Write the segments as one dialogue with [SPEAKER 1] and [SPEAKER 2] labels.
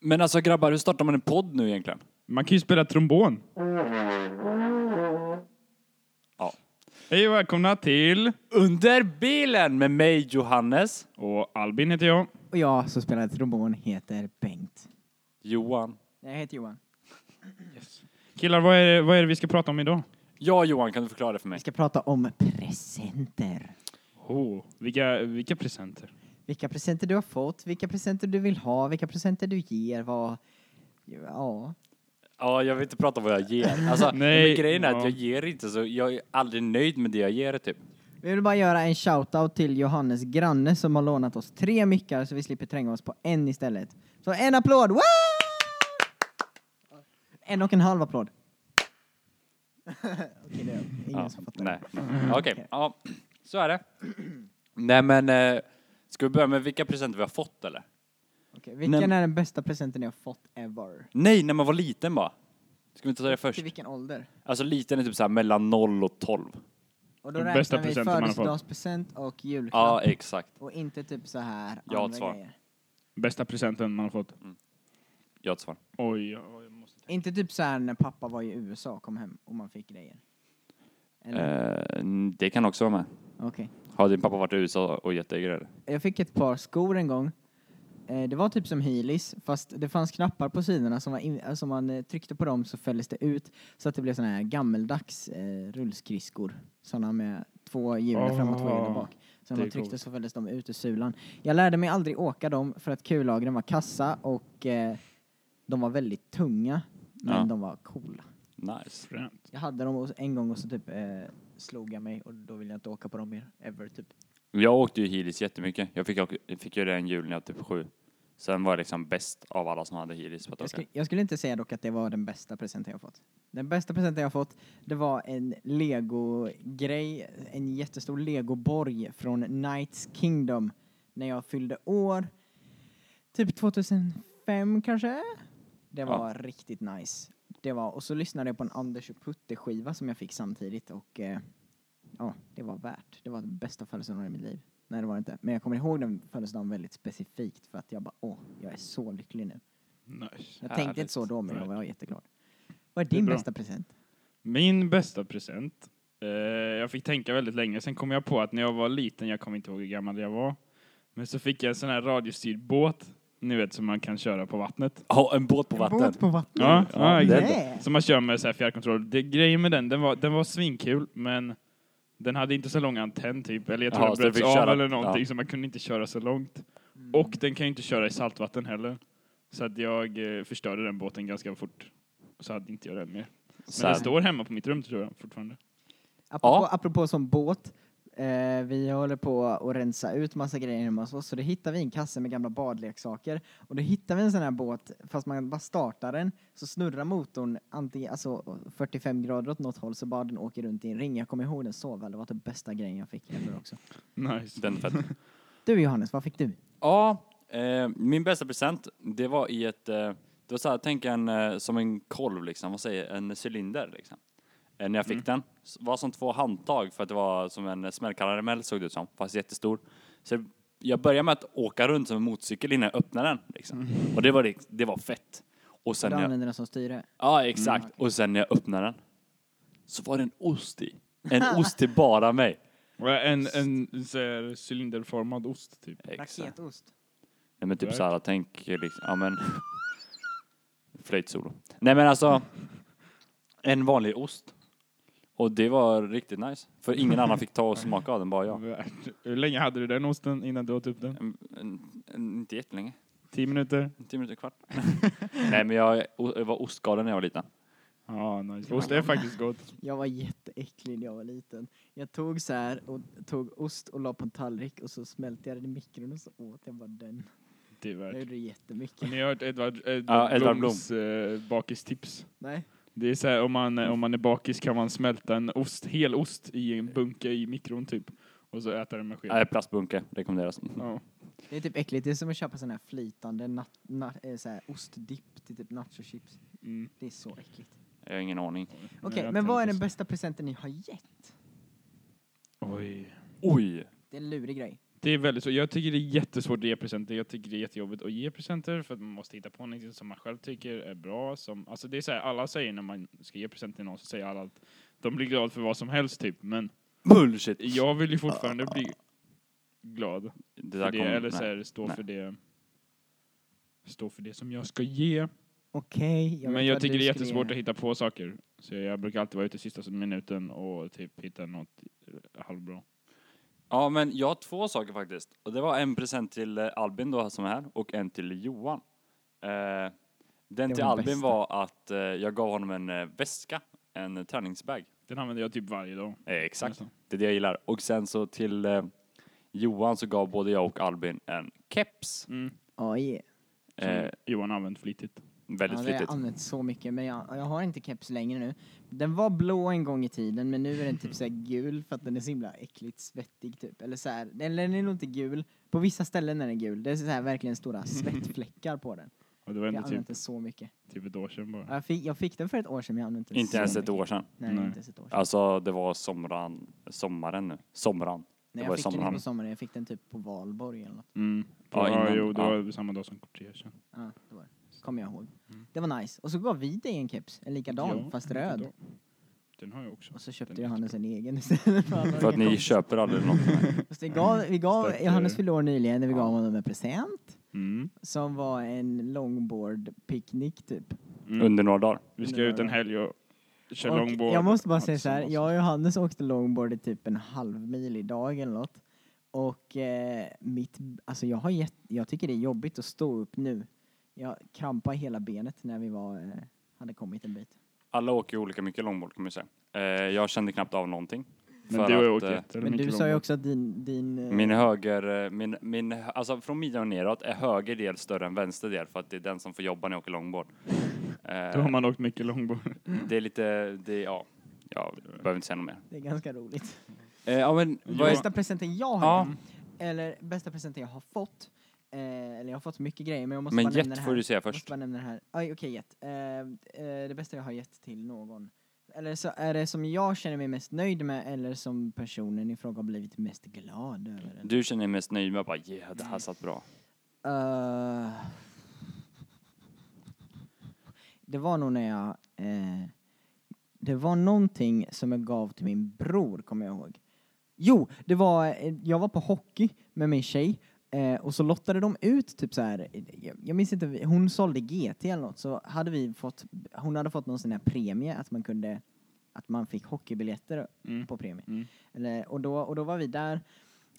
[SPEAKER 1] Men alltså grabbar, hur startar man en podd nu egentligen?
[SPEAKER 2] Man kan ju spela trombon.
[SPEAKER 1] Ja.
[SPEAKER 2] Hej och välkomna till...
[SPEAKER 1] Under bilen med mig Johannes.
[SPEAKER 2] Och Albin heter jag.
[SPEAKER 3] Och jag som spelar trombon heter Bengt.
[SPEAKER 1] Johan.
[SPEAKER 3] Jag heter Johan.
[SPEAKER 2] Killar, vad är, det, vad är det vi ska prata om idag?
[SPEAKER 1] Ja Johan, kan du förklara det för mig?
[SPEAKER 3] Vi ska prata om presenter.
[SPEAKER 2] Oh, vilka, vilka presenter?
[SPEAKER 3] Vilka presenter du har fått, vilka presenter du vill ha, vilka presenter du ger, vad... Ja.
[SPEAKER 1] Ja, jag vill inte prata om vad jag ger. Alltså,
[SPEAKER 2] Nej,
[SPEAKER 1] men grejen är att
[SPEAKER 2] ja.
[SPEAKER 1] jag ger inte så, jag är aldrig nöjd med det jag ger typ.
[SPEAKER 3] Vi vill bara göra en shoutout till Johannes granne som har lånat oss tre mickar så vi slipper tränga oss på en istället. Så en applåd! Woo! En och en halv applåd. Okej, det är ingen
[SPEAKER 1] Ja,
[SPEAKER 3] som fattar.
[SPEAKER 1] nej. Mm. Okej, ja, så är det. Nej men, eh, ska vi börja med vilka presenter vi har fått eller?
[SPEAKER 3] Okej, vilken
[SPEAKER 1] Nej.
[SPEAKER 3] är den bästa presenten ni har fått ever?
[SPEAKER 1] Nej, när man var liten bara. Ska vi inte ta det först?
[SPEAKER 3] Till vilken ålder?
[SPEAKER 1] Alltså liten är typ såhär mellan 0 och 12.
[SPEAKER 3] Och då
[SPEAKER 2] Den
[SPEAKER 3] räknar
[SPEAKER 2] bästa
[SPEAKER 3] vi
[SPEAKER 2] presenten man har fått.
[SPEAKER 3] födelsedagspresent och julklapp.
[SPEAKER 1] Ja, exakt.
[SPEAKER 3] och inte typ så här
[SPEAKER 1] Jag har ett
[SPEAKER 3] andra
[SPEAKER 1] svar.
[SPEAKER 3] grejer.
[SPEAKER 2] Bästa presenten man har fått.
[SPEAKER 1] Jag har ett svar.
[SPEAKER 2] Oj, oj, jag måste...
[SPEAKER 3] Inte typ så här när pappa var i USA och kom hem och man fick grejer. Eller?
[SPEAKER 1] Eh, det kan också vara med.
[SPEAKER 3] Okej.
[SPEAKER 1] Har din pappa varit i USA och gett dig grejer?
[SPEAKER 3] Jag fick ett par skor en gång. Eh, Det var typ som Heelys, fast det fanns knappar på sidorna som, var in, eh, som man eh, tryckte på dem så fälldes det ut. Så att det blev såna här gammeldags eh, rullskridskor. Såna med två hjul
[SPEAKER 2] Ah,
[SPEAKER 3] fram och två hjul bak. Så när
[SPEAKER 2] det
[SPEAKER 3] man
[SPEAKER 2] är
[SPEAKER 3] tryckte
[SPEAKER 2] coolt.
[SPEAKER 3] så fälldes de ut ur sulan. Jag lärde mig aldrig åka dem för att kullagren var kassa och eh, de var väldigt tunga. Men
[SPEAKER 1] Ja.
[SPEAKER 3] de var coola.
[SPEAKER 1] Nice.
[SPEAKER 2] Fränt.
[SPEAKER 3] Jag hade dem och- en gång och så typ eh, slog jag mig och då ville jag inte åka på dem mer. Ever typ.
[SPEAKER 1] Jag åkte ju Heelys jättemycket. Jag fick, jag fick ju det en jul när jag var typ sju. Sen var jag liksom bäst av alla som hade Heelys på att
[SPEAKER 3] Jag,
[SPEAKER 1] åka.
[SPEAKER 3] skulle, jag skulle inte säga dock att det var den bästa presenten jag fått. Den bästa presenten jag fått, det var en lego-grej, en jättestor legoborg från Knights Kingdom när jag fyllde år. Typ 2005 kanske? Det var riktigt nice. Det var, och så lyssnade jag på en Anders och Putte-skiva som jag fick samtidigt och eh, ja, det var värt. Det var den bästa födelsedagen i mitt liv. Nej, det var det inte. Men jag kommer ihåg den födelsedagen väldigt specifikt för att jag bara åh, jag är så lycklig nu.
[SPEAKER 2] Nice.
[SPEAKER 3] Jag
[SPEAKER 1] Härligt.
[SPEAKER 3] tänkte inte så då, men jag var jätteglad. Vad är
[SPEAKER 2] Det är
[SPEAKER 3] din
[SPEAKER 2] bra.
[SPEAKER 3] bästa present?
[SPEAKER 2] Min bästa present. Eh, jag fick tänka väldigt länge, sen kom jag på att när jag var liten, jag kommer inte ihåg hur gammal jag var, men så fick jag en sån här radiostyrd båt, ni vet, som man kan köra på vattnet.
[SPEAKER 1] Ja, en båt på vatten.
[SPEAKER 3] på vatten.
[SPEAKER 2] Ja, ja,
[SPEAKER 1] det-
[SPEAKER 2] exakt.
[SPEAKER 3] Nej.
[SPEAKER 2] Som man kör med så här fjärrkontroll. Det, grejen med den, den var, den var svinkul, men den hade inte så lång antenn typ. Eller jag tror
[SPEAKER 1] Jaha,
[SPEAKER 2] den
[SPEAKER 1] så du
[SPEAKER 2] bröts
[SPEAKER 1] fick
[SPEAKER 2] av
[SPEAKER 1] köra-
[SPEAKER 2] eller någonting,
[SPEAKER 1] ja.
[SPEAKER 2] så man kunde inte köra så långt. Och den kan ju inte köra i saltvatten heller. Så att jag eh, förstörde den båten ganska fort. Så hade inte jag den mer. Men den
[SPEAKER 1] Sad.
[SPEAKER 2] står hemma på mitt rum tror jag fortfarande.
[SPEAKER 3] Apropå,
[SPEAKER 1] Ja.
[SPEAKER 3] apropå som båt. Eh, vi håller på att rensa ut massa grejer hemma hos oss, så då hittar vi en kasse med gamla badleksaker. Och då hittar vi en sån här båt, fast man bara startar den, så snurrar motorn antingen, alltså 45 grader åt något håll, så bara den åker runt i en ring. Jag kommer ihåg den så väl, det var den bästa grejen jag fick ever också.
[SPEAKER 2] Nice.
[SPEAKER 1] Den är fett.
[SPEAKER 3] Du Johannes, vad fick du?
[SPEAKER 1] Ja, eh, min bästa present, det var i ett, eh, det var så här, tänk en, eh, som en kolv liksom, vad säger jag, en cylinder liksom. Eh, när jag fick den, s- var som två handtag för att det var som en eh, smällkaramell såg det ut som, fast jättestor. Så jag började med att åka runt som en motorcykel innan jag öppnade den liksom. Och det var, rikt- det var fett. Och sen
[SPEAKER 3] Du
[SPEAKER 1] när jag,
[SPEAKER 3] använde den som styre.
[SPEAKER 1] ja exakt, och sen när jag öppnade den så var det en ost i. En ost till bara mig.
[SPEAKER 2] Och En, en så här, cylinderformad ost typ.
[SPEAKER 1] Exakt.
[SPEAKER 3] Raketost.
[SPEAKER 1] Nej men typ
[SPEAKER 2] Right.
[SPEAKER 1] såhär, tänk liksom, ja men... Flöjtsolo. Nej men alltså, en vanlig ost. Och det var riktigt nice. För ingen annan fick ta och smaka av den, bara jag.
[SPEAKER 2] Hur länge hade du den osten innan du åt upp den?
[SPEAKER 1] En, en, en, Mm, inte jättelänge,
[SPEAKER 2] Tio minuter?
[SPEAKER 1] en timme minuter kvart. Nej men jag, o- jag var ostgalen när jag var liten.
[SPEAKER 2] Ja, nice. Ost är faktiskt gott.
[SPEAKER 3] Jag var jätteäcklig när jag var liten. Jag tog så här och tog ost och la på en tallrik och så smälte jag den i mikron och så åt jag bara den.
[SPEAKER 2] Det är
[SPEAKER 3] Jag
[SPEAKER 2] värt.
[SPEAKER 3] gjorde det jättemycket.
[SPEAKER 2] Ni har hört Edvard,
[SPEAKER 1] Ja,
[SPEAKER 2] Edvard
[SPEAKER 1] Edvard
[SPEAKER 2] Bloms eh, bakistips.
[SPEAKER 3] Nej.
[SPEAKER 2] Det är så här, om man, eh, om man är bakis kan man smälta en ost, hel ost i en bunke i mikron typ. Och så äta den med sked.
[SPEAKER 1] Nej, Äh, plastbunke rekommenderas.
[SPEAKER 2] Ja.
[SPEAKER 3] Det är typ äckligt. Det är som att köpa sån här flytande nat- na- eh, så här ostdipp till typ nachochips.
[SPEAKER 2] Mm.
[SPEAKER 3] Det är så äckligt.
[SPEAKER 1] Jag har ingen aning.
[SPEAKER 3] Okej,
[SPEAKER 2] Nej, jag
[SPEAKER 3] men vad är
[SPEAKER 2] tänkte
[SPEAKER 3] den
[SPEAKER 2] så-
[SPEAKER 3] bästa presenten ni har gett?
[SPEAKER 2] Oj.
[SPEAKER 1] Oj!
[SPEAKER 3] Det är en lurig grej.
[SPEAKER 2] Det är väldigt svårt. Jag tycker det är jättesvårt att ge presenter. Jag tycker det är jättejobbigt att ge presenter för att man måste hitta på någonting som man själv tycker är bra. Som, alltså det är så här, alla säger när man ska ge presenter till någon så säger alla att de blir glada för vad som helst typ. Men
[SPEAKER 1] Bullshit!
[SPEAKER 2] jag vill ju fortfarande bli glad
[SPEAKER 1] det
[SPEAKER 2] för
[SPEAKER 1] där
[SPEAKER 2] det,
[SPEAKER 1] kommer-
[SPEAKER 2] eller så
[SPEAKER 1] nej.
[SPEAKER 2] här, stå
[SPEAKER 1] nej.
[SPEAKER 2] för det stå för det som jag ska ge.
[SPEAKER 3] Okej. vet
[SPEAKER 2] men jag
[SPEAKER 3] vad
[SPEAKER 2] tycker
[SPEAKER 3] du
[SPEAKER 2] det är
[SPEAKER 3] skulle
[SPEAKER 2] jättesvårt
[SPEAKER 3] ge.
[SPEAKER 2] att hitta på saker. Så jag brukar alltid vara ute sista minuten och typ hitta något eh, halvbra.
[SPEAKER 1] Ja, men jag har två saker faktiskt. Och det var en present till eh, Albin då, som är här, och en till Johan. Eh, den
[SPEAKER 3] var
[SPEAKER 1] till
[SPEAKER 3] den
[SPEAKER 1] Albin
[SPEAKER 3] bästa.
[SPEAKER 1] var att eh, jag gav honom en eh, väska, en eh, träningsbag.
[SPEAKER 2] Den använder jag typ varje dag.
[SPEAKER 1] Eh, exakt,
[SPEAKER 2] Nästan.
[SPEAKER 1] det är det jag gillar. Och sen så till eh, Johan så gav både jag och Albin en keps.
[SPEAKER 2] Mm.
[SPEAKER 3] Oj.
[SPEAKER 2] Som
[SPEAKER 1] Eh,
[SPEAKER 2] Johan har använt flitigt.
[SPEAKER 1] väldigt
[SPEAKER 3] ja, det har jag
[SPEAKER 1] flitigt.
[SPEAKER 3] använt så mycket, men jag, jag har inte keps längre nu. Den var blå en gång i tiden, men nu är den typ så här gul för att den är så himla äckligt svettig typ. Eller så här, eller den är nog inte gul. På vissa ställen är den gul. Det är så här verkligen stora svettfläckar på den.
[SPEAKER 2] Och det var
[SPEAKER 3] Jag
[SPEAKER 2] ändå
[SPEAKER 3] har
[SPEAKER 2] typ,
[SPEAKER 3] använt den så mycket.
[SPEAKER 2] typ ett år sedan bara.
[SPEAKER 3] Ja, Jag fick, jag fick den för ett år sedan, men jag har använt den
[SPEAKER 1] Inte
[SPEAKER 3] så
[SPEAKER 1] ens ett
[SPEAKER 3] mycket.
[SPEAKER 1] år sedan.
[SPEAKER 3] Nej,
[SPEAKER 2] Nej.
[SPEAKER 3] inte ens ett år sedan.
[SPEAKER 1] Alltså, det var somran, sommaren nu. Somran.
[SPEAKER 3] Nej,
[SPEAKER 1] det var
[SPEAKER 3] jag
[SPEAKER 1] i
[SPEAKER 3] fick den inte
[SPEAKER 1] sommaren.
[SPEAKER 3] på sommaren, jag fick den typ på valborg eller något.
[SPEAKER 2] Mm.
[SPEAKER 1] Ja,
[SPEAKER 2] Ja,
[SPEAKER 1] innan,
[SPEAKER 2] jo, det
[SPEAKER 1] ja.
[SPEAKER 2] var samma dag som kortegen.
[SPEAKER 3] Ja, det var det. Kommer jag ihåg.
[SPEAKER 1] Mm.
[SPEAKER 3] Det var nice. Och så gav vi dig en keps, en likadan
[SPEAKER 2] Ja,
[SPEAKER 3] fast röd.
[SPEAKER 2] idag. Den har jag också.
[SPEAKER 3] Och så köpte
[SPEAKER 2] Den är
[SPEAKER 3] Johannes en egen istället.
[SPEAKER 1] För att ni köper aldrig något.
[SPEAKER 3] Fast vi gav, vi gav,
[SPEAKER 2] Stack,
[SPEAKER 3] Johannes
[SPEAKER 2] eh,
[SPEAKER 3] fyllde år nyligen när vi
[SPEAKER 1] ja.
[SPEAKER 3] gav honom en present
[SPEAKER 2] Mm.
[SPEAKER 3] som var en longboard-picknick typ.
[SPEAKER 2] Mm.
[SPEAKER 1] Under några dagar.
[SPEAKER 2] Vi ska ut en helg och köra
[SPEAKER 3] Och
[SPEAKER 2] långbord.
[SPEAKER 3] jag måste bara
[SPEAKER 2] Allt
[SPEAKER 3] säga så här,
[SPEAKER 2] sånt.
[SPEAKER 3] jag och Johannes åkte longboard i typ en halv mil idag eller något. Och eh, mitt, alltså jag har gett, jag tycker det är jobbigt att stå upp nu. Jag krampade hela benet när vi var, eh, hade kommit en bit.
[SPEAKER 1] Alla åker ju olika mycket långbord kan man ju säga. Eh, jag kände knappt av någonting.
[SPEAKER 2] Men du har ju åkt
[SPEAKER 1] eh,
[SPEAKER 2] jättemycket
[SPEAKER 3] Men du sa ju
[SPEAKER 2] långbord.
[SPEAKER 3] också att din, din eh,
[SPEAKER 1] min höger, eh, min, min, alltså från midjan och neråt är höger del större än vänster del för att det är den som får jobba när jag åker långbord.
[SPEAKER 2] Då har
[SPEAKER 1] Eh,
[SPEAKER 2] man åkt mycket långbord.
[SPEAKER 1] det är lite, det är, ja, jag behöver inte säga något mer.
[SPEAKER 3] det är ganska roligt.
[SPEAKER 1] Eh, ja men, vad är,
[SPEAKER 3] Bästa presenten jag har
[SPEAKER 1] ja,
[SPEAKER 3] gjort, eller bästa presenten jag har fått, eh, eller jag har fått så mycket grejer men jag måste
[SPEAKER 1] men
[SPEAKER 3] bara nämna
[SPEAKER 1] Jet
[SPEAKER 3] det
[SPEAKER 1] får
[SPEAKER 3] här.
[SPEAKER 1] du säga
[SPEAKER 3] Jag måste
[SPEAKER 1] först.
[SPEAKER 3] bara nämna det här. Aj, okej Jet. Eh, eh, det bästa jag har gett till någon. Eller så är det som jag känner mig mest nöjd med eller som personen i fråga har blivit mest glad över. eller?
[SPEAKER 1] Du känner dig mest nöjd med bara, yeah, det här satt bra.
[SPEAKER 3] Eh, det var nog när jag... eh, det var någonting som jag gav till min bror, kommer jag ihåg. Jo, det var... eh, jag var på hockey med min tjej. eh, och så lottade de ut typ så här. Jag, jag minns inte, vi- hon sålde GT eller något. Så hade vi fått... Hon hade fått någon sån här premie att man kunde... Att man fick hockeybiljetter
[SPEAKER 2] Mm.
[SPEAKER 3] på premie.
[SPEAKER 2] Mm.
[SPEAKER 3] Eller, och, då, och då var vi där.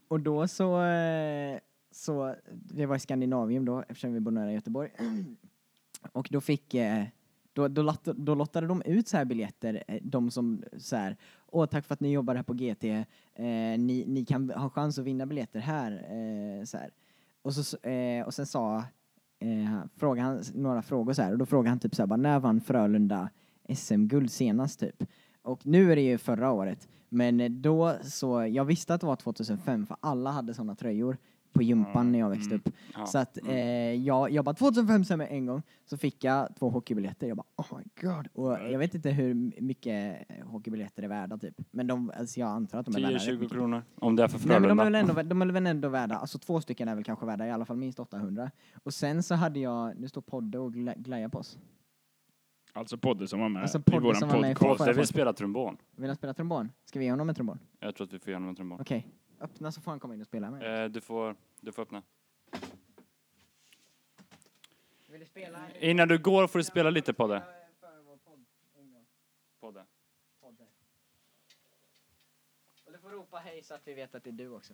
[SPEAKER 3] Och då så, eh, så, vi var i Skandinavien då eftersom vi bor nära Göteborg. Och då fick, eh, då, då, latt, då lottade de ut så här biljetter, eh, de som så här, åh tack för att ni jobbar här på GT, eh, ni, ni kan ha chans att vinna biljetter här. Eh, så här. Och, så, eh, och sen sa, eh, frågade han några frågor så här, och då frågade han typ så här, bara, när vann Frölunda SM-guld senast typ? Och nu är det ju förra året, men eh, då så, jag visste att det var 2005 för alla hade sådana tröjor på gympan
[SPEAKER 2] Ja,
[SPEAKER 3] när jag växte
[SPEAKER 2] mm.
[SPEAKER 3] upp.
[SPEAKER 1] Ja.
[SPEAKER 3] Så att eh, jag, jag bara 2005 stämmer en gång, så fick jag två hockeybiljetter. Jag bara oh my god. Och jag vet inte hur mycket hockeybiljetter är värda typ. Men de, alltså jag antar att de är värda rätt
[SPEAKER 1] 10-20
[SPEAKER 3] mycket.
[SPEAKER 1] kronor, om det är för
[SPEAKER 3] Nej men de är,
[SPEAKER 1] Frölunda.
[SPEAKER 3] väl ändå, de är väl ändå värda, alltså två stycken är väl kanske värda i alla fall minst 800. Och sen så hade jag, nu står Podde och gla- glajar på oss.
[SPEAKER 2] Alltså podden som var med
[SPEAKER 3] Alltså
[SPEAKER 2] i
[SPEAKER 3] podden
[SPEAKER 2] våran
[SPEAKER 3] som var med i
[SPEAKER 2] podcast.
[SPEAKER 1] Konstigt, vi spelar trumbon.
[SPEAKER 3] Vill han spela trombon? Ska vi ge honom en trombon?
[SPEAKER 1] Jag tror att vi får igenom en trombon.
[SPEAKER 3] Okej, öppna så får han komma in och spela med.
[SPEAKER 1] Eh, du, får, du får öppna.
[SPEAKER 3] Vill du spela?
[SPEAKER 1] Innan du går får du spela lite på det. På det.
[SPEAKER 3] Och du får ropa hej så att vi vet att det är du också.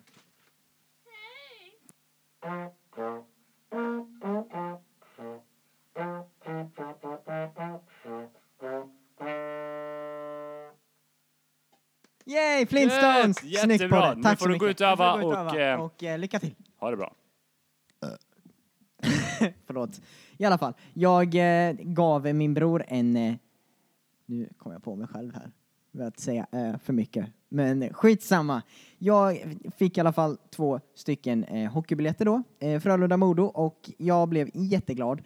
[SPEAKER 3] Yay, Flintstones!
[SPEAKER 1] Yes,
[SPEAKER 3] Snyggt
[SPEAKER 1] jättebra.
[SPEAKER 3] Podde.
[SPEAKER 1] Nu
[SPEAKER 3] Tack
[SPEAKER 1] får
[SPEAKER 3] så
[SPEAKER 1] du
[SPEAKER 3] mycket.
[SPEAKER 1] gå ut och öva
[SPEAKER 3] Nu får du gå ut
[SPEAKER 1] och,
[SPEAKER 3] öva.
[SPEAKER 1] eh,
[SPEAKER 3] och eh, lycka till.
[SPEAKER 1] Ha det bra.
[SPEAKER 3] Förlåt. I alla fall, jag eh, gav min bror en... Eh, nu kom jag på mig själv här. Med att säga eh, för mycket. Men skitsamma. Jag fick i alla fall två stycken eh, hockeybiljetter då. Eh, Frölunda-Modo och jag blev jätteglad.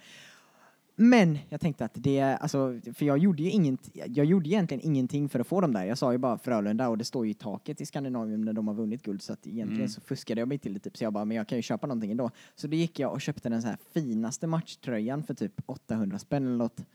[SPEAKER 3] Men jag tänkte att det, alltså, för jag gjorde ju inget, jag gjorde egentligen ingenting för att få dem där. Jag sa ju bara Frölunda och det står ju i taket i Skandinavien när de har vunnit guld så att egentligen
[SPEAKER 2] Mm.
[SPEAKER 3] så fuskade jag mig till det typ. Så jag bara, men jag kan ju köpa någonting ändå. Så då gick jag och köpte den så här finaste matchtröjan för typ 800 spänn eller något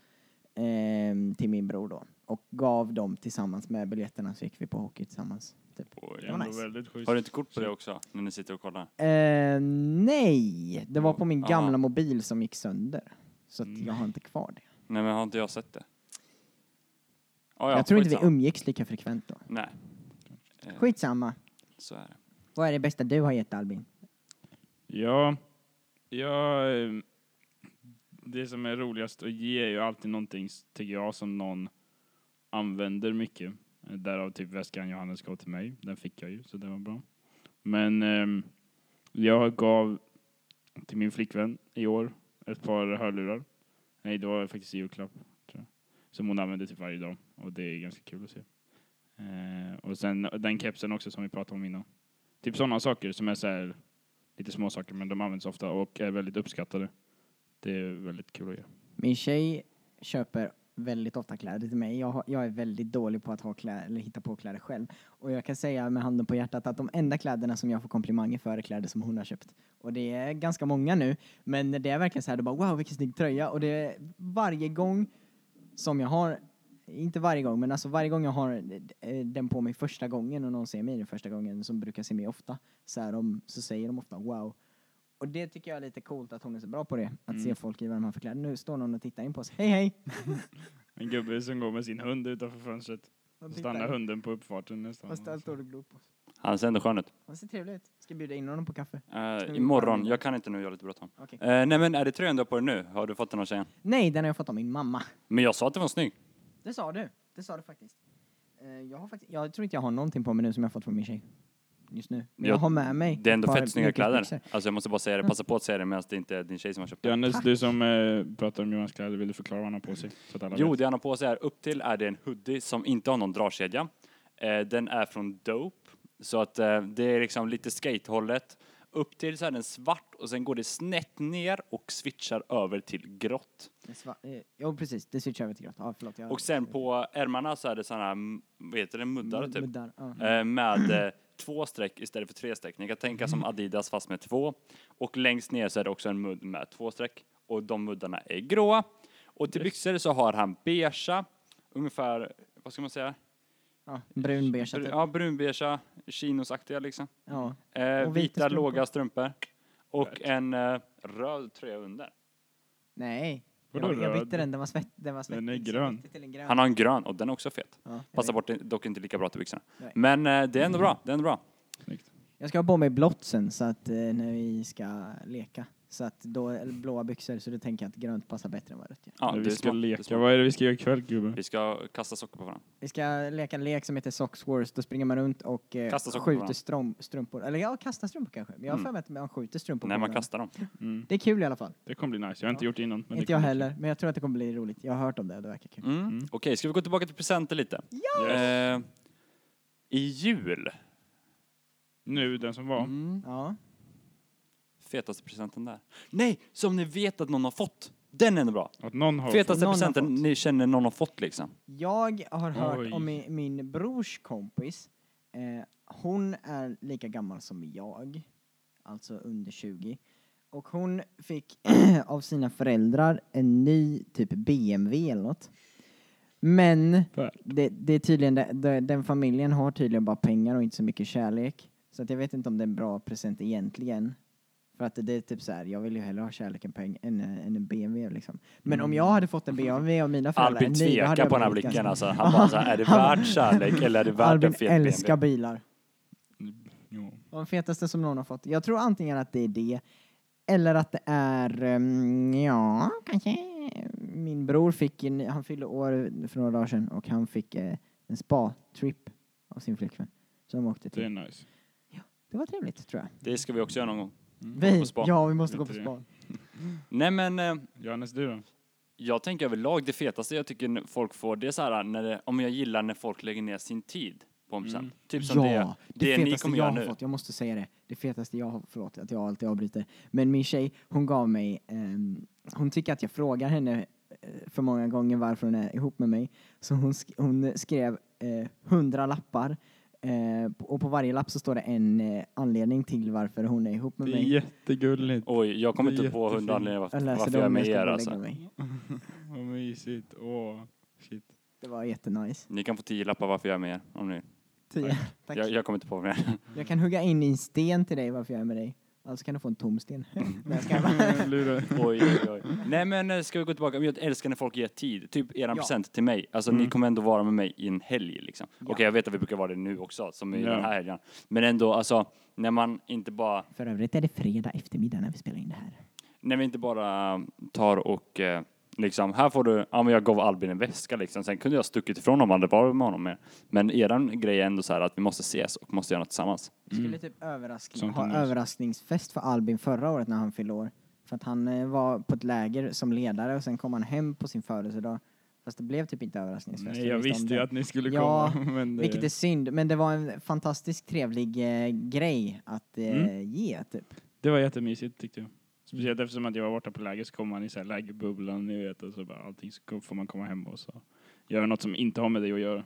[SPEAKER 3] ehm, till min bror då. Och gav dem tillsammans med biljetterna så gick vi på hockey tillsammans. Typ.
[SPEAKER 2] Oj,
[SPEAKER 3] Det var
[SPEAKER 2] ändå
[SPEAKER 3] nice.
[SPEAKER 2] väldigt schysst.
[SPEAKER 1] Har du inte kort på det också? När ni sitter och kollar?
[SPEAKER 3] Eh, nej, det var på min
[SPEAKER 1] Aha.
[SPEAKER 3] gamla mobil som gick sönder. Så att jag har inte kvar det.
[SPEAKER 1] Nej men har inte jag sett det? Ah,
[SPEAKER 3] jag tror inte vi
[SPEAKER 1] skitsamma.
[SPEAKER 3] umgicks lika frekvent då.
[SPEAKER 1] Nej. Eh,
[SPEAKER 3] Skitsamma.
[SPEAKER 1] Så är det.
[SPEAKER 3] Vad är det bästa du har gett Albin?
[SPEAKER 2] Ja, ja, eh, det som är roligast att ge är ju alltid någonting, s- tycker jag, som någon använder mycket. Eh, Därav typ väskan Johannes gav till mig. Den fick jag ju, så det var bra. Men ehm, jag gav till min flickvän i år ett par hörlurar. Nej, det var faktiskt i julklapp, tror jag. Som hon använder typ varje dag. Och det är ganska kul att se. Eh, och sen den kepsen också som vi pratade om innan. Typ sådana saker som är så här lite små saker men de används ofta och är väldigt uppskattade. Det är väldigt kul att göra.
[SPEAKER 3] Min tjej köper väldigt ofta kläder till mig. Jag, har, jag är väldigt dålig på att ha kläder, eller hitta på kläder själv. Och jag kan säga med handen på hjärtat att de enda kläderna som jag får komplimanger för är kläder som hon har köpt. Och det är ganska många nu. Men det är verkligen så här, du bara wow vilken snygg tröja. Och det är varje gång som jag har, inte varje gång, men alltså varje gång jag har eh, den på mig första gången och någon ser mig den första gången, som brukar se mig ofta, så, är de, så säger de ofta wow. Och det tycker jag är lite coolt att hon är så bra på det. Att
[SPEAKER 1] Mm.
[SPEAKER 3] se folk i vad de har för kläder. Nu står någon och tittar in på oss. Hej hej!
[SPEAKER 2] En gubbe som går med sin hund utanför fönstret. Så stannar hunden på uppfarten nästan.
[SPEAKER 3] Fast allt står och glor på oss.
[SPEAKER 1] Han ser ändå skön ut.
[SPEAKER 3] Han ser trevlig ut. Ska bjuda in honom på kaffe.
[SPEAKER 1] Uh, Eh, imorgon. Jag kan inte nu, jag har lite bråttom.
[SPEAKER 3] Okej.
[SPEAKER 1] Eh, nej men är det tröjan du har på dig nu? Har du fått den av tjejen?
[SPEAKER 3] Nej, den har jag fått av min mamma.
[SPEAKER 1] Men jag sa att den var snygg.
[SPEAKER 3] Det sa du. Det sa du faktiskt. Eh, Jag, har faktiskt, jag tror inte jag har någonting på mig nu som jag har fått från min tjej. Just nu. Men jag,
[SPEAKER 1] Jag-
[SPEAKER 3] har med mig.
[SPEAKER 1] Det är ändå
[SPEAKER 3] ett par
[SPEAKER 1] fett snygga kläder.
[SPEAKER 3] mjukisbyxor.
[SPEAKER 1] Alltså jag måste bara säga det, passa på att säga det medan det inte är din tjej som har köpt den.
[SPEAKER 2] Johannes, du som eh, pratar om Johans kläder, vill du förklara vad han har på sig? Så att alla
[SPEAKER 1] Jo,
[SPEAKER 2] vet.
[SPEAKER 1] det han har på sig här upp till är det en hoodie som inte har någon dragkedja. Eh, den är från Dope, så att eh, det är liksom lite skatehållet. Upp till så är den svart och sen går det snett ner och switchar över till grått.
[SPEAKER 3] Det är sva- eh, Jo, precis. Det switchar över till grått. Ja, förlåt. Jag
[SPEAKER 1] Och sen på ärmarna så är det sådana här, mm, vad heter det, muddar
[SPEAKER 3] Muddar,
[SPEAKER 1] typ.
[SPEAKER 3] muddar, ja.
[SPEAKER 1] Eh, med eh, två streck istället för tre streck. Ni kan tänka som Adidas fast med två. Och längst ner så är det också en mudd med två streck. Och de muddarna är gråa. Och till byxor så har han beigea, ungefär, vad ska man säga?
[SPEAKER 3] Ja, brun beige.
[SPEAKER 1] Br-
[SPEAKER 3] Typ.
[SPEAKER 1] ja, brunbeiga, chinosaktiga liksom.
[SPEAKER 3] Ja.
[SPEAKER 1] Eh,
[SPEAKER 3] Och vita
[SPEAKER 1] vita
[SPEAKER 3] strumpor.
[SPEAKER 1] låga strumpor. Och en eh, röd tröja under.
[SPEAKER 3] Nej.
[SPEAKER 2] Vadå
[SPEAKER 3] Jag, jag
[SPEAKER 2] röd?
[SPEAKER 3] bytte den. Den var svett. Den, var svett,
[SPEAKER 2] Den är grön.
[SPEAKER 3] Till en grön.
[SPEAKER 1] Han har en grön och den är också fet.
[SPEAKER 3] Ja, jag
[SPEAKER 1] Passar
[SPEAKER 3] vet.
[SPEAKER 1] bort, dock inte lika bra till byxorna.
[SPEAKER 3] Nej.
[SPEAKER 1] Men eh, det är ändå bra, det är ändå bra.
[SPEAKER 2] Snyggt.
[SPEAKER 3] Jag ska ha på mig blått sen så att eh, när vi ska leka. Så att då, eller blåa byxor, så då tänker jag att grönt passar bättre än vad rött gör.
[SPEAKER 1] Ja,
[SPEAKER 2] När
[SPEAKER 1] det
[SPEAKER 2] vi
[SPEAKER 1] är
[SPEAKER 2] ska
[SPEAKER 1] smart, det är
[SPEAKER 2] leka.
[SPEAKER 1] smart.
[SPEAKER 2] Vad är det vi ska göra ikväll gubben?
[SPEAKER 1] Vi ska kasta socker på varandra.
[SPEAKER 3] Vi ska leka en lek som heter Socks Wars. Då springer man runt och eh,
[SPEAKER 1] Kasta sockor på
[SPEAKER 3] skjuter
[SPEAKER 1] varandra.
[SPEAKER 3] strom, strumpor. Eller ja, kasta strumpor kanske. Men jag har
[SPEAKER 1] Mm.
[SPEAKER 3] för mig att man skjuter strumpor.
[SPEAKER 1] När
[SPEAKER 3] på
[SPEAKER 1] man
[SPEAKER 3] varandra.
[SPEAKER 1] kastar dem.
[SPEAKER 2] Mm.
[SPEAKER 3] Det är kul i alla fall.
[SPEAKER 2] Det kommer bli nice. Jag har inte gjort det innan. men det
[SPEAKER 3] Inte jag
[SPEAKER 2] kommer bli
[SPEAKER 3] heller, men jag tror att det kommer bli roligt. Jag har hört om det och det verkar kul.
[SPEAKER 1] Mm.
[SPEAKER 2] Mm.
[SPEAKER 1] Okej, ska vi gå tillbaka till presenter lite?
[SPEAKER 2] kul. Yes.
[SPEAKER 1] Eh, I jul.
[SPEAKER 2] Nu, den som var.
[SPEAKER 1] Mm.
[SPEAKER 3] Ja.
[SPEAKER 1] Fetaste presenten där. Nej, som ni vet att någon har fått. Den är ändå bra.
[SPEAKER 2] Att någon har
[SPEAKER 1] Fetaste
[SPEAKER 3] Någon har
[SPEAKER 1] presenten
[SPEAKER 3] fått.
[SPEAKER 1] ni känner någon har fått liksom.
[SPEAKER 3] Jag har hört
[SPEAKER 2] Oj.
[SPEAKER 3] om min, min brors kompis. Eh, hon är lika gammal som jag, alltså under 20. Och hon fick av sina föräldrar en ny typ BMW eller något. Men
[SPEAKER 2] Värt.
[SPEAKER 3] det, det är tydligen, det, det, den familjen har tydligen bara pengar och inte så mycket kärlek. Så att jag vet inte om det är en bra present egentligen. För att det är typ så här, jag vill ju hellre ha kärlek än, peng, än, än en BMW liksom. Men om jag hade fått en BMW av mina föräldrar,
[SPEAKER 1] Mm. Albin
[SPEAKER 3] en ny, då hade
[SPEAKER 1] tvekar
[SPEAKER 3] jag
[SPEAKER 1] på den här
[SPEAKER 3] blivit
[SPEAKER 1] blicken
[SPEAKER 3] ganska-
[SPEAKER 1] alltså. Han bara såhär, är det värt kärlek eller är det värt en
[SPEAKER 3] Albin
[SPEAKER 1] fet
[SPEAKER 3] älskar
[SPEAKER 1] BMW?
[SPEAKER 3] bilar.
[SPEAKER 2] Jo.
[SPEAKER 3] De fetaste som någon har fått. Jag tror antingen att det är det, eller att det är, ehm, ja, kanske. Min bror fick, en, han fyllde år för några dagar sedan och han fick eh, en spa-trip av sin flickvän. Så de åkte
[SPEAKER 2] Det är
[SPEAKER 3] till.
[SPEAKER 2] nice.
[SPEAKER 3] Det var trevligt tror jag.
[SPEAKER 1] Det ska vi också göra någon gång.
[SPEAKER 3] Vi,
[SPEAKER 1] på spa.
[SPEAKER 3] ja, vi måste gå på
[SPEAKER 2] Lite
[SPEAKER 3] spa.
[SPEAKER 1] Nej men, eh,
[SPEAKER 2] Johannes, du då?
[SPEAKER 1] jag tänker överlag det fetaste jag tycker folk får, det är såhär när det, om jag gillar när folk lägger ner sin tid. på en present.
[SPEAKER 2] Mm.
[SPEAKER 1] Typ som
[SPEAKER 3] ja,
[SPEAKER 1] det, det, ni kommer
[SPEAKER 3] jag
[SPEAKER 1] göra
[SPEAKER 3] har
[SPEAKER 1] nu.
[SPEAKER 3] fått. Jag måste säga det. Det fetaste jag har, förlåt att jag alltid avbryter. Men min tjej, hon gav mig, ehm, hon tycker att jag frågar henne eh, för många gånger varför hon är ihop med mig. Så hon, sk- hon skrev eh, hundra lappar eh, och på varje lapp så står det en eh, anledning till varför hon är ihop med
[SPEAKER 2] Det är
[SPEAKER 3] mig.
[SPEAKER 2] jättegulligt.
[SPEAKER 1] Oj, jag kommer
[SPEAKER 2] Det är
[SPEAKER 1] inte på
[SPEAKER 2] jättefint.
[SPEAKER 1] hundra anledningar varför
[SPEAKER 3] Jag
[SPEAKER 1] jag,
[SPEAKER 3] läser
[SPEAKER 1] varför
[SPEAKER 3] dem
[SPEAKER 1] jag är
[SPEAKER 3] när
[SPEAKER 1] med
[SPEAKER 3] jag
[SPEAKER 1] er
[SPEAKER 3] ska gå och lägga
[SPEAKER 1] alltså.
[SPEAKER 3] mig.
[SPEAKER 2] Vad mysigt. Åh, shit.
[SPEAKER 3] Det var jättenice.
[SPEAKER 1] Ni kan få tio lappar varför jag är med er, om ni
[SPEAKER 3] Tio. Tack.
[SPEAKER 1] jag,
[SPEAKER 3] Jag,
[SPEAKER 1] jag kommer inte på mer.
[SPEAKER 3] kan hugga in i en sten till dig varför jag är med dig. Alltså kan du få en tom sten. Nej, jag skojar bara.
[SPEAKER 2] Lura.
[SPEAKER 1] oj, oj, oj. Nej men eh, ska vi gå tillbaka, jag älskar när folk ger tid. Typ eran
[SPEAKER 3] Ja.
[SPEAKER 1] present till mig. Alltså ni
[SPEAKER 2] Mm.
[SPEAKER 1] kommer ändå vara med mig i en helg liksom. Okej jag vet att vi brukar vara det nu också, som i
[SPEAKER 2] Ja.
[SPEAKER 1] den här helgen. Men ändå alltså, när man inte bara,
[SPEAKER 3] För övrigt är det fredag eftermiddag när vi spelar in det här.
[SPEAKER 1] när vi inte bara eh, tar och eh, liksom, här får du, ja men jag gav Albin en väska liksom. Sen kunde jag stuckit ifrån om han hade varit med honom mer. Men eran grej är ändå så här att vi måste ses och måste göra något tillsammans.
[SPEAKER 3] Vi skulle typ överraskning,
[SPEAKER 2] Mm. Sånt är
[SPEAKER 3] ha
[SPEAKER 2] nice.
[SPEAKER 3] överraskningsfest för Albin förra året när han fyllde år. För att han eh, var på ett läger som ledare och sen kom han hem på sin födelsedag. Fast det blev typ inte överraskningsfest.
[SPEAKER 2] Nej,
[SPEAKER 3] vi
[SPEAKER 2] jag
[SPEAKER 3] om
[SPEAKER 2] visste ju
[SPEAKER 3] det.
[SPEAKER 2] att ni skulle
[SPEAKER 3] Ja,
[SPEAKER 2] komma. Men eh, det,
[SPEAKER 3] Vilket är synd, men det var en fantastiskt trevlig eh, grej att eh,
[SPEAKER 2] Mm.
[SPEAKER 3] ge typ.
[SPEAKER 2] det var jättemysigt tyckte jag. Speciellt eftersom att jag var borta på läger så kom man i så här lägerbubblan, ni vet, och så bara allting så kom- får man komma hem och så göra något som inte har med dig att göra.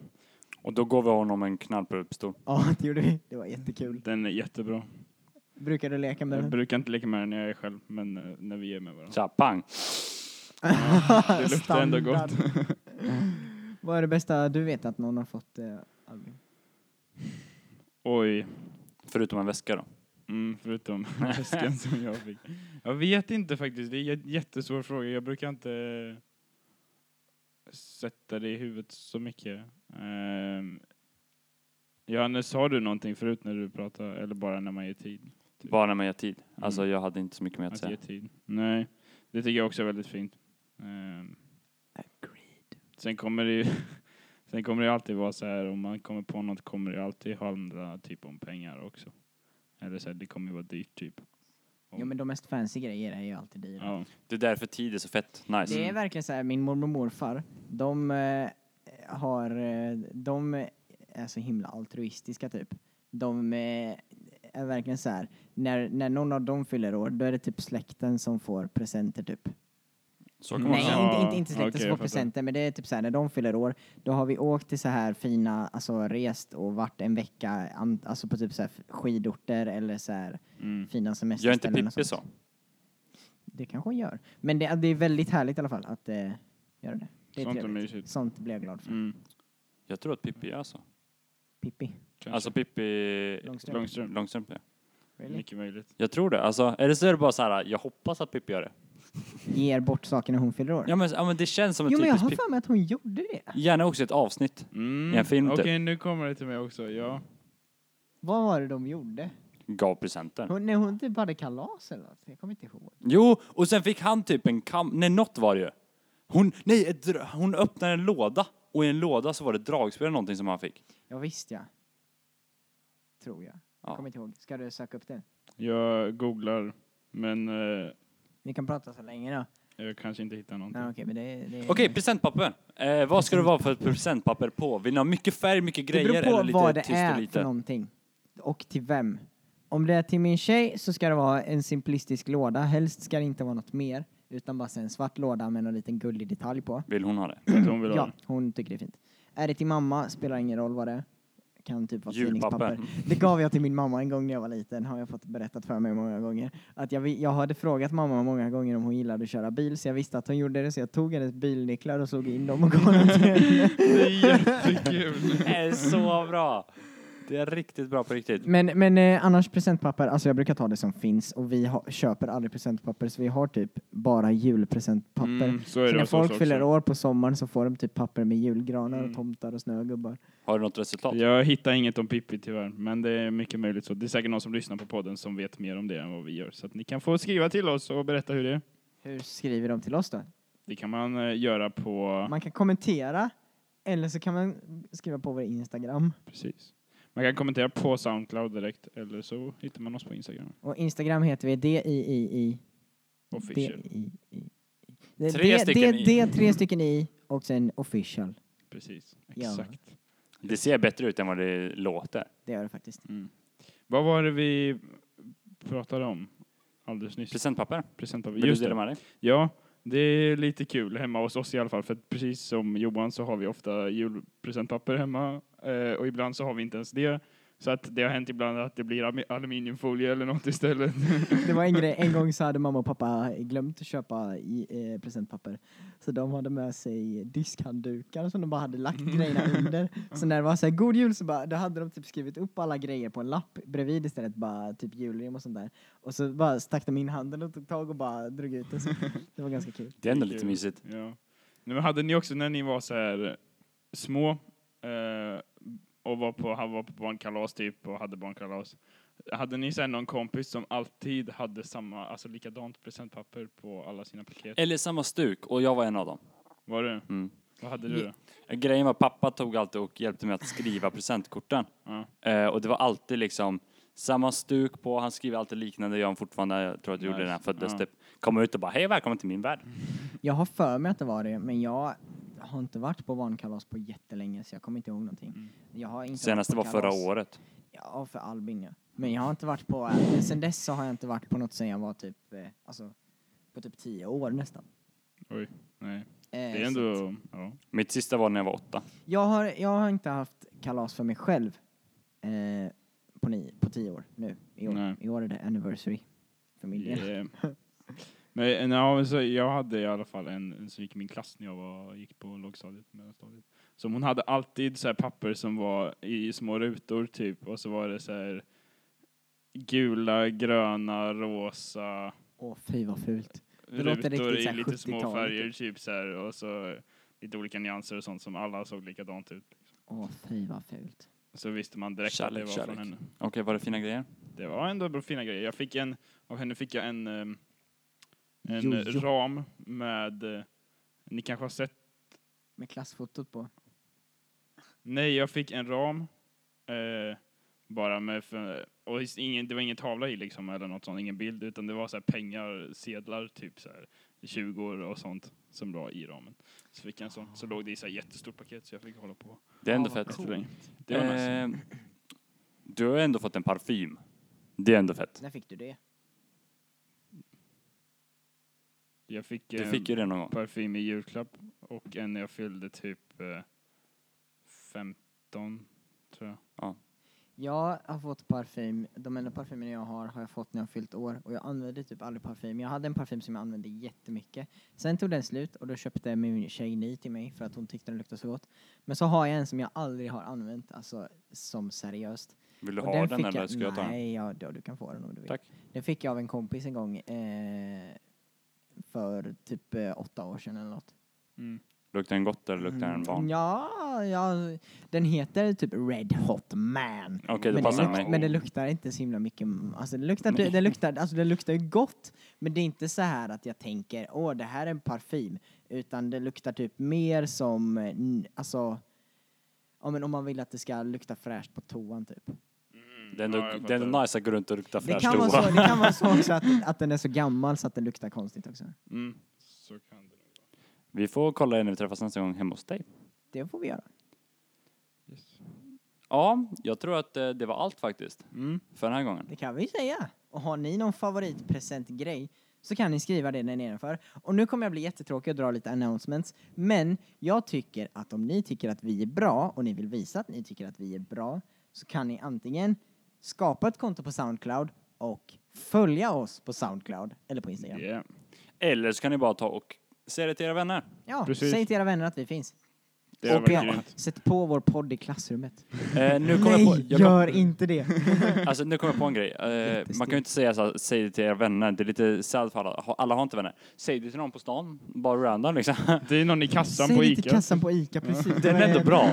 [SPEAKER 1] Och då gav vi honom en knallpulpstol.
[SPEAKER 3] Ja, det gjorde vi. Det var jättekul.
[SPEAKER 2] Den är jättebra.
[SPEAKER 3] Brukar du leka med
[SPEAKER 2] Jag
[SPEAKER 3] den?
[SPEAKER 2] brukar inte leka med den när jag är själv, men eh, när vi är med varandra.
[SPEAKER 1] Så här, pang!
[SPEAKER 2] Det luktar ändå gott.
[SPEAKER 3] Vad är det bästa du vet att någon har fått, eh, Albin?
[SPEAKER 2] Oj.
[SPEAKER 1] Förutom en väska då.
[SPEAKER 2] Mm, förutom väskan som jag fick. Jag vet inte faktiskt, det är en jättesvår fråga. Jag brukar inte sätta det i huvudet så mycket. Um, Johannes, sa du någonting förut när du pratade, eller bara när man ger tid?
[SPEAKER 1] Bara när man ger tid. Alltså
[SPEAKER 2] Mm.
[SPEAKER 1] jag hade inte så mycket mer att
[SPEAKER 2] Att
[SPEAKER 1] säga.
[SPEAKER 2] ge tid? Nej, det tycker jag också är väldigt fint. Ehm, sen kommer det ju Sen kommer det ju alltid vara så här, om man kommer på något kommer det alltid handla typ om pengar också. Eller så här, det kommer ju vara dyrt typ. Om-
[SPEAKER 3] Ja men de mest fancy grejer är ju alltid dyra.
[SPEAKER 2] Ja.
[SPEAKER 1] Det är därför tid är så fett nice. Mm.
[SPEAKER 3] Det är verkligen så här, min mormor och morfar, de eh, har, eh, de är så himla altruistiska typ. De eh, är verkligen så här, när, när någon av dem fyller år, då är det typ släkten som får presenter typ.
[SPEAKER 1] Så kan man
[SPEAKER 3] Nej,
[SPEAKER 1] säga.
[SPEAKER 2] Ja,
[SPEAKER 3] inte, inte, inte släkten
[SPEAKER 2] okej,
[SPEAKER 3] som
[SPEAKER 2] jag fattar.
[SPEAKER 3] får presenter, men det är typ så här, när de fyller år, då har vi åkt till så här fina, alltså rest och varit en vecka, an- alltså på typ så här skidorter eller så här
[SPEAKER 2] Mm.
[SPEAKER 3] fina
[SPEAKER 1] Gör inte
[SPEAKER 3] semesterställen. och
[SPEAKER 1] Pippi
[SPEAKER 3] sånt.
[SPEAKER 1] så.
[SPEAKER 3] Det kanske hon gör. Men det, det är väldigt härligt i alla fall att eh, göra det. det
[SPEAKER 2] Sånt är
[SPEAKER 3] trevligt.
[SPEAKER 2] mysigt.
[SPEAKER 3] Sånt blir jag glad för.
[SPEAKER 2] Mm.
[SPEAKER 1] Jag tror att Pippi gör så.
[SPEAKER 3] Pippi.
[SPEAKER 2] Kanske.
[SPEAKER 1] Alltså Pippi
[SPEAKER 3] Långstrump.
[SPEAKER 2] Långstrump.
[SPEAKER 1] Långstrump ja.
[SPEAKER 3] Really?
[SPEAKER 2] Mycket möjligt.
[SPEAKER 1] Jag tror det. Alltså, eller så är det bara så här, jag hoppas att Pippi gör det.
[SPEAKER 3] Ger bort saker när hon fyller år.
[SPEAKER 1] Ja men, ja, men det känns som en
[SPEAKER 3] jo, men jag
[SPEAKER 1] typisk
[SPEAKER 3] har
[SPEAKER 1] Pippi.
[SPEAKER 3] för mig att hon gjorde det.
[SPEAKER 1] Gärna också ett avsnitt.
[SPEAKER 2] Mm.
[SPEAKER 1] I en film, typ.
[SPEAKER 2] Okej, nu kommer det till mig också. Ja.
[SPEAKER 3] Vad var det de gjorde?
[SPEAKER 1] Gav presenter.
[SPEAKER 3] Hon, när hon typ hade kalas eller något. Jag kommer inte ihåg.
[SPEAKER 1] Jo, och sen fick han typ en kam... Nej, något var det ju. Hon, nej, ett, dra- hon öppnade en låda. Och i en låda så var det dragspel eller någonting som han fick.
[SPEAKER 3] Ja, visst ja. Tror jag.
[SPEAKER 1] Ja.
[SPEAKER 3] Kommer inte ihåg. Ska du söka upp det?
[SPEAKER 2] Jag googlar, men eh,
[SPEAKER 3] Vi kan prata så länge då.
[SPEAKER 2] jag kanske inte hittar någonting.
[SPEAKER 3] Ja, okej, men det, det,
[SPEAKER 1] Okej, presentpapper. Eh, vad ska det vara för ett presentpapper på? Vill ni ha mycket färg, mycket
[SPEAKER 3] det
[SPEAKER 1] grejer
[SPEAKER 3] beror på
[SPEAKER 1] eller lite
[SPEAKER 3] vad det
[SPEAKER 1] tyst och
[SPEAKER 3] är
[SPEAKER 1] lite?
[SPEAKER 3] för någonting. Och till vem. Om det är till min tjej så ska det vara en simplistisk låda. Helst ska det inte vara något mer. Utan bara så en svart låda med någon liten gullig detalj på.
[SPEAKER 1] Vill hon ha det?
[SPEAKER 2] För att hon vill ha
[SPEAKER 3] Ja,
[SPEAKER 2] det.
[SPEAKER 3] hon tycker det är fint. Är det till mamma spelar ingen roll vad det är. Kan typ vara
[SPEAKER 1] Julpapper.
[SPEAKER 3] tidningspapper. Det gav jag till min mamma en gång när jag var liten, har jag fått berättat för mig många gånger. Att jag, vi- jag hade frågat mamma många gånger om hon gillade att köra bil, så jag visste att hon gjorde det, så jag tog hennes bilnycklar och slog in dem och gav dem till henne.
[SPEAKER 2] Det är jättekul.
[SPEAKER 1] Det är så bra! Det är riktigt bra på riktigt.
[SPEAKER 3] Men, men eh, annars presentpapper, alltså jag brukar ta det som finns och vi har, köper aldrig presentpapper, så vi har typ bara julpresentpapper.
[SPEAKER 2] Mm, så är
[SPEAKER 3] så
[SPEAKER 2] det
[SPEAKER 3] när
[SPEAKER 2] hos oss
[SPEAKER 3] folk
[SPEAKER 2] också.
[SPEAKER 3] fyller år på sommaren så får de typ papper med julgranar
[SPEAKER 2] Mm.
[SPEAKER 3] och tomtar och snögubbar.
[SPEAKER 1] Har du något resultat?
[SPEAKER 2] Jag hittar inget om Pippi tyvärr, men det är mycket möjligt så. Det är säkert någon som lyssnar på podden som vet mer om det än vad vi gör. Så att ni kan få skriva till oss och berätta hur det är.
[SPEAKER 3] Hur skriver de till oss då?
[SPEAKER 2] Det kan man eh, göra på...
[SPEAKER 3] Man kan kommentera eller så kan man skriva på vår Instagram.
[SPEAKER 2] Precis. Man kan kommentera på Soundcloud direkt, eller så hittar man oss på Instagram.
[SPEAKER 3] Och Instagram heter vi DIII.
[SPEAKER 2] Official.
[SPEAKER 3] DIII. Det-
[SPEAKER 1] Tre
[SPEAKER 3] det-
[SPEAKER 1] stycken
[SPEAKER 3] det-
[SPEAKER 1] i.
[SPEAKER 3] Det är tre stycken i och sen official.
[SPEAKER 2] Precis.
[SPEAKER 3] Ja.
[SPEAKER 2] Exakt.
[SPEAKER 1] Det ser bättre ut än vad det låter.
[SPEAKER 3] Det gör det faktiskt.
[SPEAKER 2] Vad var det vi pratade om alldeles nyss?
[SPEAKER 1] Presentpapper.
[SPEAKER 2] Present av
[SPEAKER 1] Vill
[SPEAKER 2] Just
[SPEAKER 1] du dela
[SPEAKER 2] det.
[SPEAKER 1] med dig?
[SPEAKER 2] Ja, det är lite kul hemma hos oss i alla fall. För att precis som Johan så har vi ofta julpresentpapper hemma. eh, Och ibland så har vi inte ens det. Så att det har hänt ibland att det blir ami- aluminiumfolie eller något istället.
[SPEAKER 3] Det var en grej, en gång så hade mamma och pappa glömt att köpa i, eh, presentpapper. Så de hade med sig diskhanddukar som de bara hade lagt grejerna under. Så när det var så här, god jul så bara, då hade de typ skrivit upp alla grejer på en lapp bredvid istället, bara typ julrim och sånt där. Och så bara stack de in handen och tog tag och bara drog ut det. Så det var ganska kul.
[SPEAKER 1] Det är ändå
[SPEAKER 2] Det är
[SPEAKER 1] lite
[SPEAKER 2] kul.
[SPEAKER 1] mysigt.
[SPEAKER 2] Ja. Men hade ni också när ni var så här små eh, och var på, han var på barnkalas typ och hade barnkalas. Hade ni sen någon kompis som alltid hade samma, alltså likadant presentpapper på alla sina paket?
[SPEAKER 1] Eller samma stuk, och jag var en av dem.
[SPEAKER 2] Var det?
[SPEAKER 1] Mm.
[SPEAKER 2] Vad hade du då?
[SPEAKER 1] Grejen var att pappa tog alltid och hjälpte mig att skriva presentkorten.
[SPEAKER 2] Ja.
[SPEAKER 1] Eh, och det var alltid liksom samma stuk på, han skriver alltid liknande, jag fortfarande, jag tror att jag gjorde det
[SPEAKER 2] Nice.
[SPEAKER 1] när han föddes
[SPEAKER 2] Ja.
[SPEAKER 1] typ. Kom ut och bara, hej och välkommen till min värld.
[SPEAKER 3] Jag har för mig att det var det, men jag har inte varit på barnkalas på jättelänge så jag kommer inte ihåg någonting. Jag har inte
[SPEAKER 1] Senaste var
[SPEAKER 3] varit på
[SPEAKER 1] förra
[SPEAKER 3] kalas.
[SPEAKER 1] året.
[SPEAKER 3] Ja, för Albin ja. Men jag har inte varit på, eh, sen dess så har jag inte varit på något sen jag var typ, eh, alltså, på typ tio år nästan.
[SPEAKER 2] Oj, nej.
[SPEAKER 3] Eh,
[SPEAKER 2] Det är
[SPEAKER 3] så att-
[SPEAKER 2] ändå, ja.
[SPEAKER 1] Mitt sista var när jag var åtta.
[SPEAKER 3] Jag har, jag har inte haft kalas för mig själv eh, på, ni, på tio år nu. I år,
[SPEAKER 2] Nej.
[SPEAKER 3] I år är det anniversary. Familjen.
[SPEAKER 2] Yeah. Men, ja, men så jag hade i alla fall en, en som gick i min klass när jag var, gick på lågstadiet, mellanstadiet. Som hon hade alltid så här papper som var i små rutor typ och så var det så här gula, gröna, rosa
[SPEAKER 3] Åh fy vad fult. Det låter
[SPEAKER 2] rutor
[SPEAKER 3] riktigt så
[SPEAKER 2] i
[SPEAKER 3] här
[SPEAKER 2] lite små
[SPEAKER 3] 70-talet.
[SPEAKER 2] färger typ så här och så lite olika nyanser och sånt som alla såg likadant ut.
[SPEAKER 3] Åh fy vad fult.
[SPEAKER 2] Så visste man direkt att det
[SPEAKER 1] Kärlek,
[SPEAKER 2] var
[SPEAKER 1] kärlek.
[SPEAKER 2] från henne.
[SPEAKER 1] Okej, var det fina grejer?
[SPEAKER 2] Det var ändå bra, fina grejer. Jag fick en, av henne fick jag en, ehm, en eh,
[SPEAKER 3] Jojo.
[SPEAKER 2] ram med, eh, ni kanske har sett,
[SPEAKER 3] Med klassfotot på.
[SPEAKER 2] nej jag fick en ram, eh, bara med, för, och is- ingen, det var ingen tavla i liksom eller något sånt, ingen bild, utan det var så här pengar, sedlar, typ så här 20 och sånt som var i ramen. Så fick jag en sån, så låg det i så här jättestort paket så jag fick hålla på
[SPEAKER 1] Det är ändå
[SPEAKER 3] Ja, vad
[SPEAKER 1] fett.
[SPEAKER 2] jättelänge. Det var nice.
[SPEAKER 1] Eh, Du har ändå fått en parfym. Det är ändå fett.
[SPEAKER 3] När fick du det?
[SPEAKER 2] Jag fick,
[SPEAKER 1] Du
[SPEAKER 2] eh,
[SPEAKER 1] fick ju det någon gång.
[SPEAKER 2] parfym i julklapp och en när jag fyllde typ eh, 15 tror jag.
[SPEAKER 3] Jag har fått parfym, de enda parfymerna jag har har jag fått när jag fyllt år och jag använde typ aldrig parfym. Jag hade en parfym som jag använde jättemycket. Sen tog den slut och då köpte min tjej ny till mig för att hon tyckte den luktade så gott. Men så har jag en som jag aldrig har använt, alltså som seriöst.
[SPEAKER 1] Vill du
[SPEAKER 3] Och
[SPEAKER 1] ha den
[SPEAKER 3] fick
[SPEAKER 1] eller ska jag ta den?
[SPEAKER 3] Nej, ja, då, du kan få den om du vill.
[SPEAKER 1] Tack.
[SPEAKER 3] Den fick jag av en kompis en gång eh, för typ eh, åtta år sedan eller något.
[SPEAKER 1] Luktar den gott eller luktar den
[SPEAKER 3] Mm,
[SPEAKER 1] van?
[SPEAKER 3] Ja, ja, den heter typ Red Hot Man.
[SPEAKER 1] Okej, det
[SPEAKER 3] men,
[SPEAKER 1] passar
[SPEAKER 3] det
[SPEAKER 1] mig.
[SPEAKER 3] luk- men det luktar inte så himla mycket. mm, Alltså det luktar, det, det luktar, alltså det luktar ju gott, men det är inte så här att jag tänker åh, det här är en parfym, utan det luktar typ mer som, eh, n- alltså, ja, men om man vill att det ska lukta fräscht på toan typ.
[SPEAKER 1] Det är ändå,
[SPEAKER 2] Ja, jag
[SPEAKER 1] det är ändå
[SPEAKER 2] fattar.
[SPEAKER 1] nice att gå runt och lukta
[SPEAKER 3] Det
[SPEAKER 1] fräsch
[SPEAKER 3] kan, vara
[SPEAKER 1] toa.
[SPEAKER 3] så, det kan vara så också att, att den är så gammal så att den luktar konstigt också.
[SPEAKER 2] Mm. Så kan det.
[SPEAKER 1] Vi får kolla när vi träffas nästa gång hemma hos dig.
[SPEAKER 3] Det får vi göra.
[SPEAKER 1] Ja, jag tror att eh, det var allt faktiskt
[SPEAKER 2] Mm.
[SPEAKER 1] för den här gången.
[SPEAKER 3] Det kan vi ju säga. Och har ni någon favoritpresentgrej så kan ni skriva det där nedanför. Och nu kommer jag bli jättetråkig och dra lite announcements. Men jag tycker att om ni tycker att vi är bra och ni vill visa att ni tycker att vi är bra så kan ni antingen skapa ett konto på Soundcloud och följa oss på Soundcloud eller på Instagram.
[SPEAKER 2] Yeah.
[SPEAKER 1] Eller så kan ni bara ta och säga det till era vänner.
[SPEAKER 3] Ja,
[SPEAKER 2] Precis.
[SPEAKER 3] säg till era vänner att vi finns.
[SPEAKER 2] Det har
[SPEAKER 3] och
[SPEAKER 2] varit
[SPEAKER 3] ja,
[SPEAKER 2] grymt.
[SPEAKER 3] sätt på vår podd i klassrummet.
[SPEAKER 1] Eh, nu kommer
[SPEAKER 3] Nej,
[SPEAKER 1] jag på, jag kom,
[SPEAKER 3] gör inte det!
[SPEAKER 1] alltså, nu kommer jag på en grej. Eh, man kan ju inte säga så här, säg det till era vänner. Det är lite sad för alla. Ha- Alla har inte vänner. Säg det till någon på stan, bara random liksom.
[SPEAKER 2] Det är någon i kassan
[SPEAKER 3] Säg
[SPEAKER 2] på
[SPEAKER 3] det till
[SPEAKER 2] Ica.
[SPEAKER 3] kassan på Ica, precis.
[SPEAKER 1] Den är ändå bra.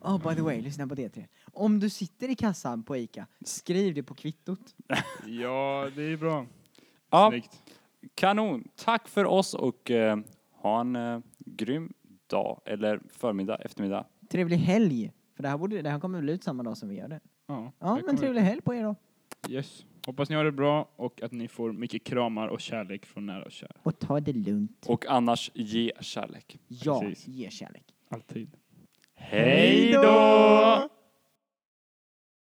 [SPEAKER 3] Oh, by the way, lyssna på det tre. Om du sitter i kassan på Ica, skriv det på kvittot.
[SPEAKER 2] Ja, det är bra.
[SPEAKER 1] Ja,
[SPEAKER 2] Snyggt.
[SPEAKER 1] kanon. Tack för oss och eh, ha en eh, grym dag eller förmiddag, eftermiddag.
[SPEAKER 3] Trevlig helg! För det här, borde, det här kommer väl ut samma dag som vi gör det.
[SPEAKER 2] Ja,
[SPEAKER 3] Ja,
[SPEAKER 2] det
[SPEAKER 3] men
[SPEAKER 2] kommer-
[SPEAKER 3] trevlig helg på er då.
[SPEAKER 2] Yes. Hoppas ni har det bra och att ni får mycket kramar och kärlek från nära och kära.
[SPEAKER 3] Och ta det lugnt.
[SPEAKER 1] Och annars, ge kärlek.
[SPEAKER 3] Ja,
[SPEAKER 2] Precis.
[SPEAKER 3] ge kärlek.
[SPEAKER 2] Alltid.
[SPEAKER 1] Hej då!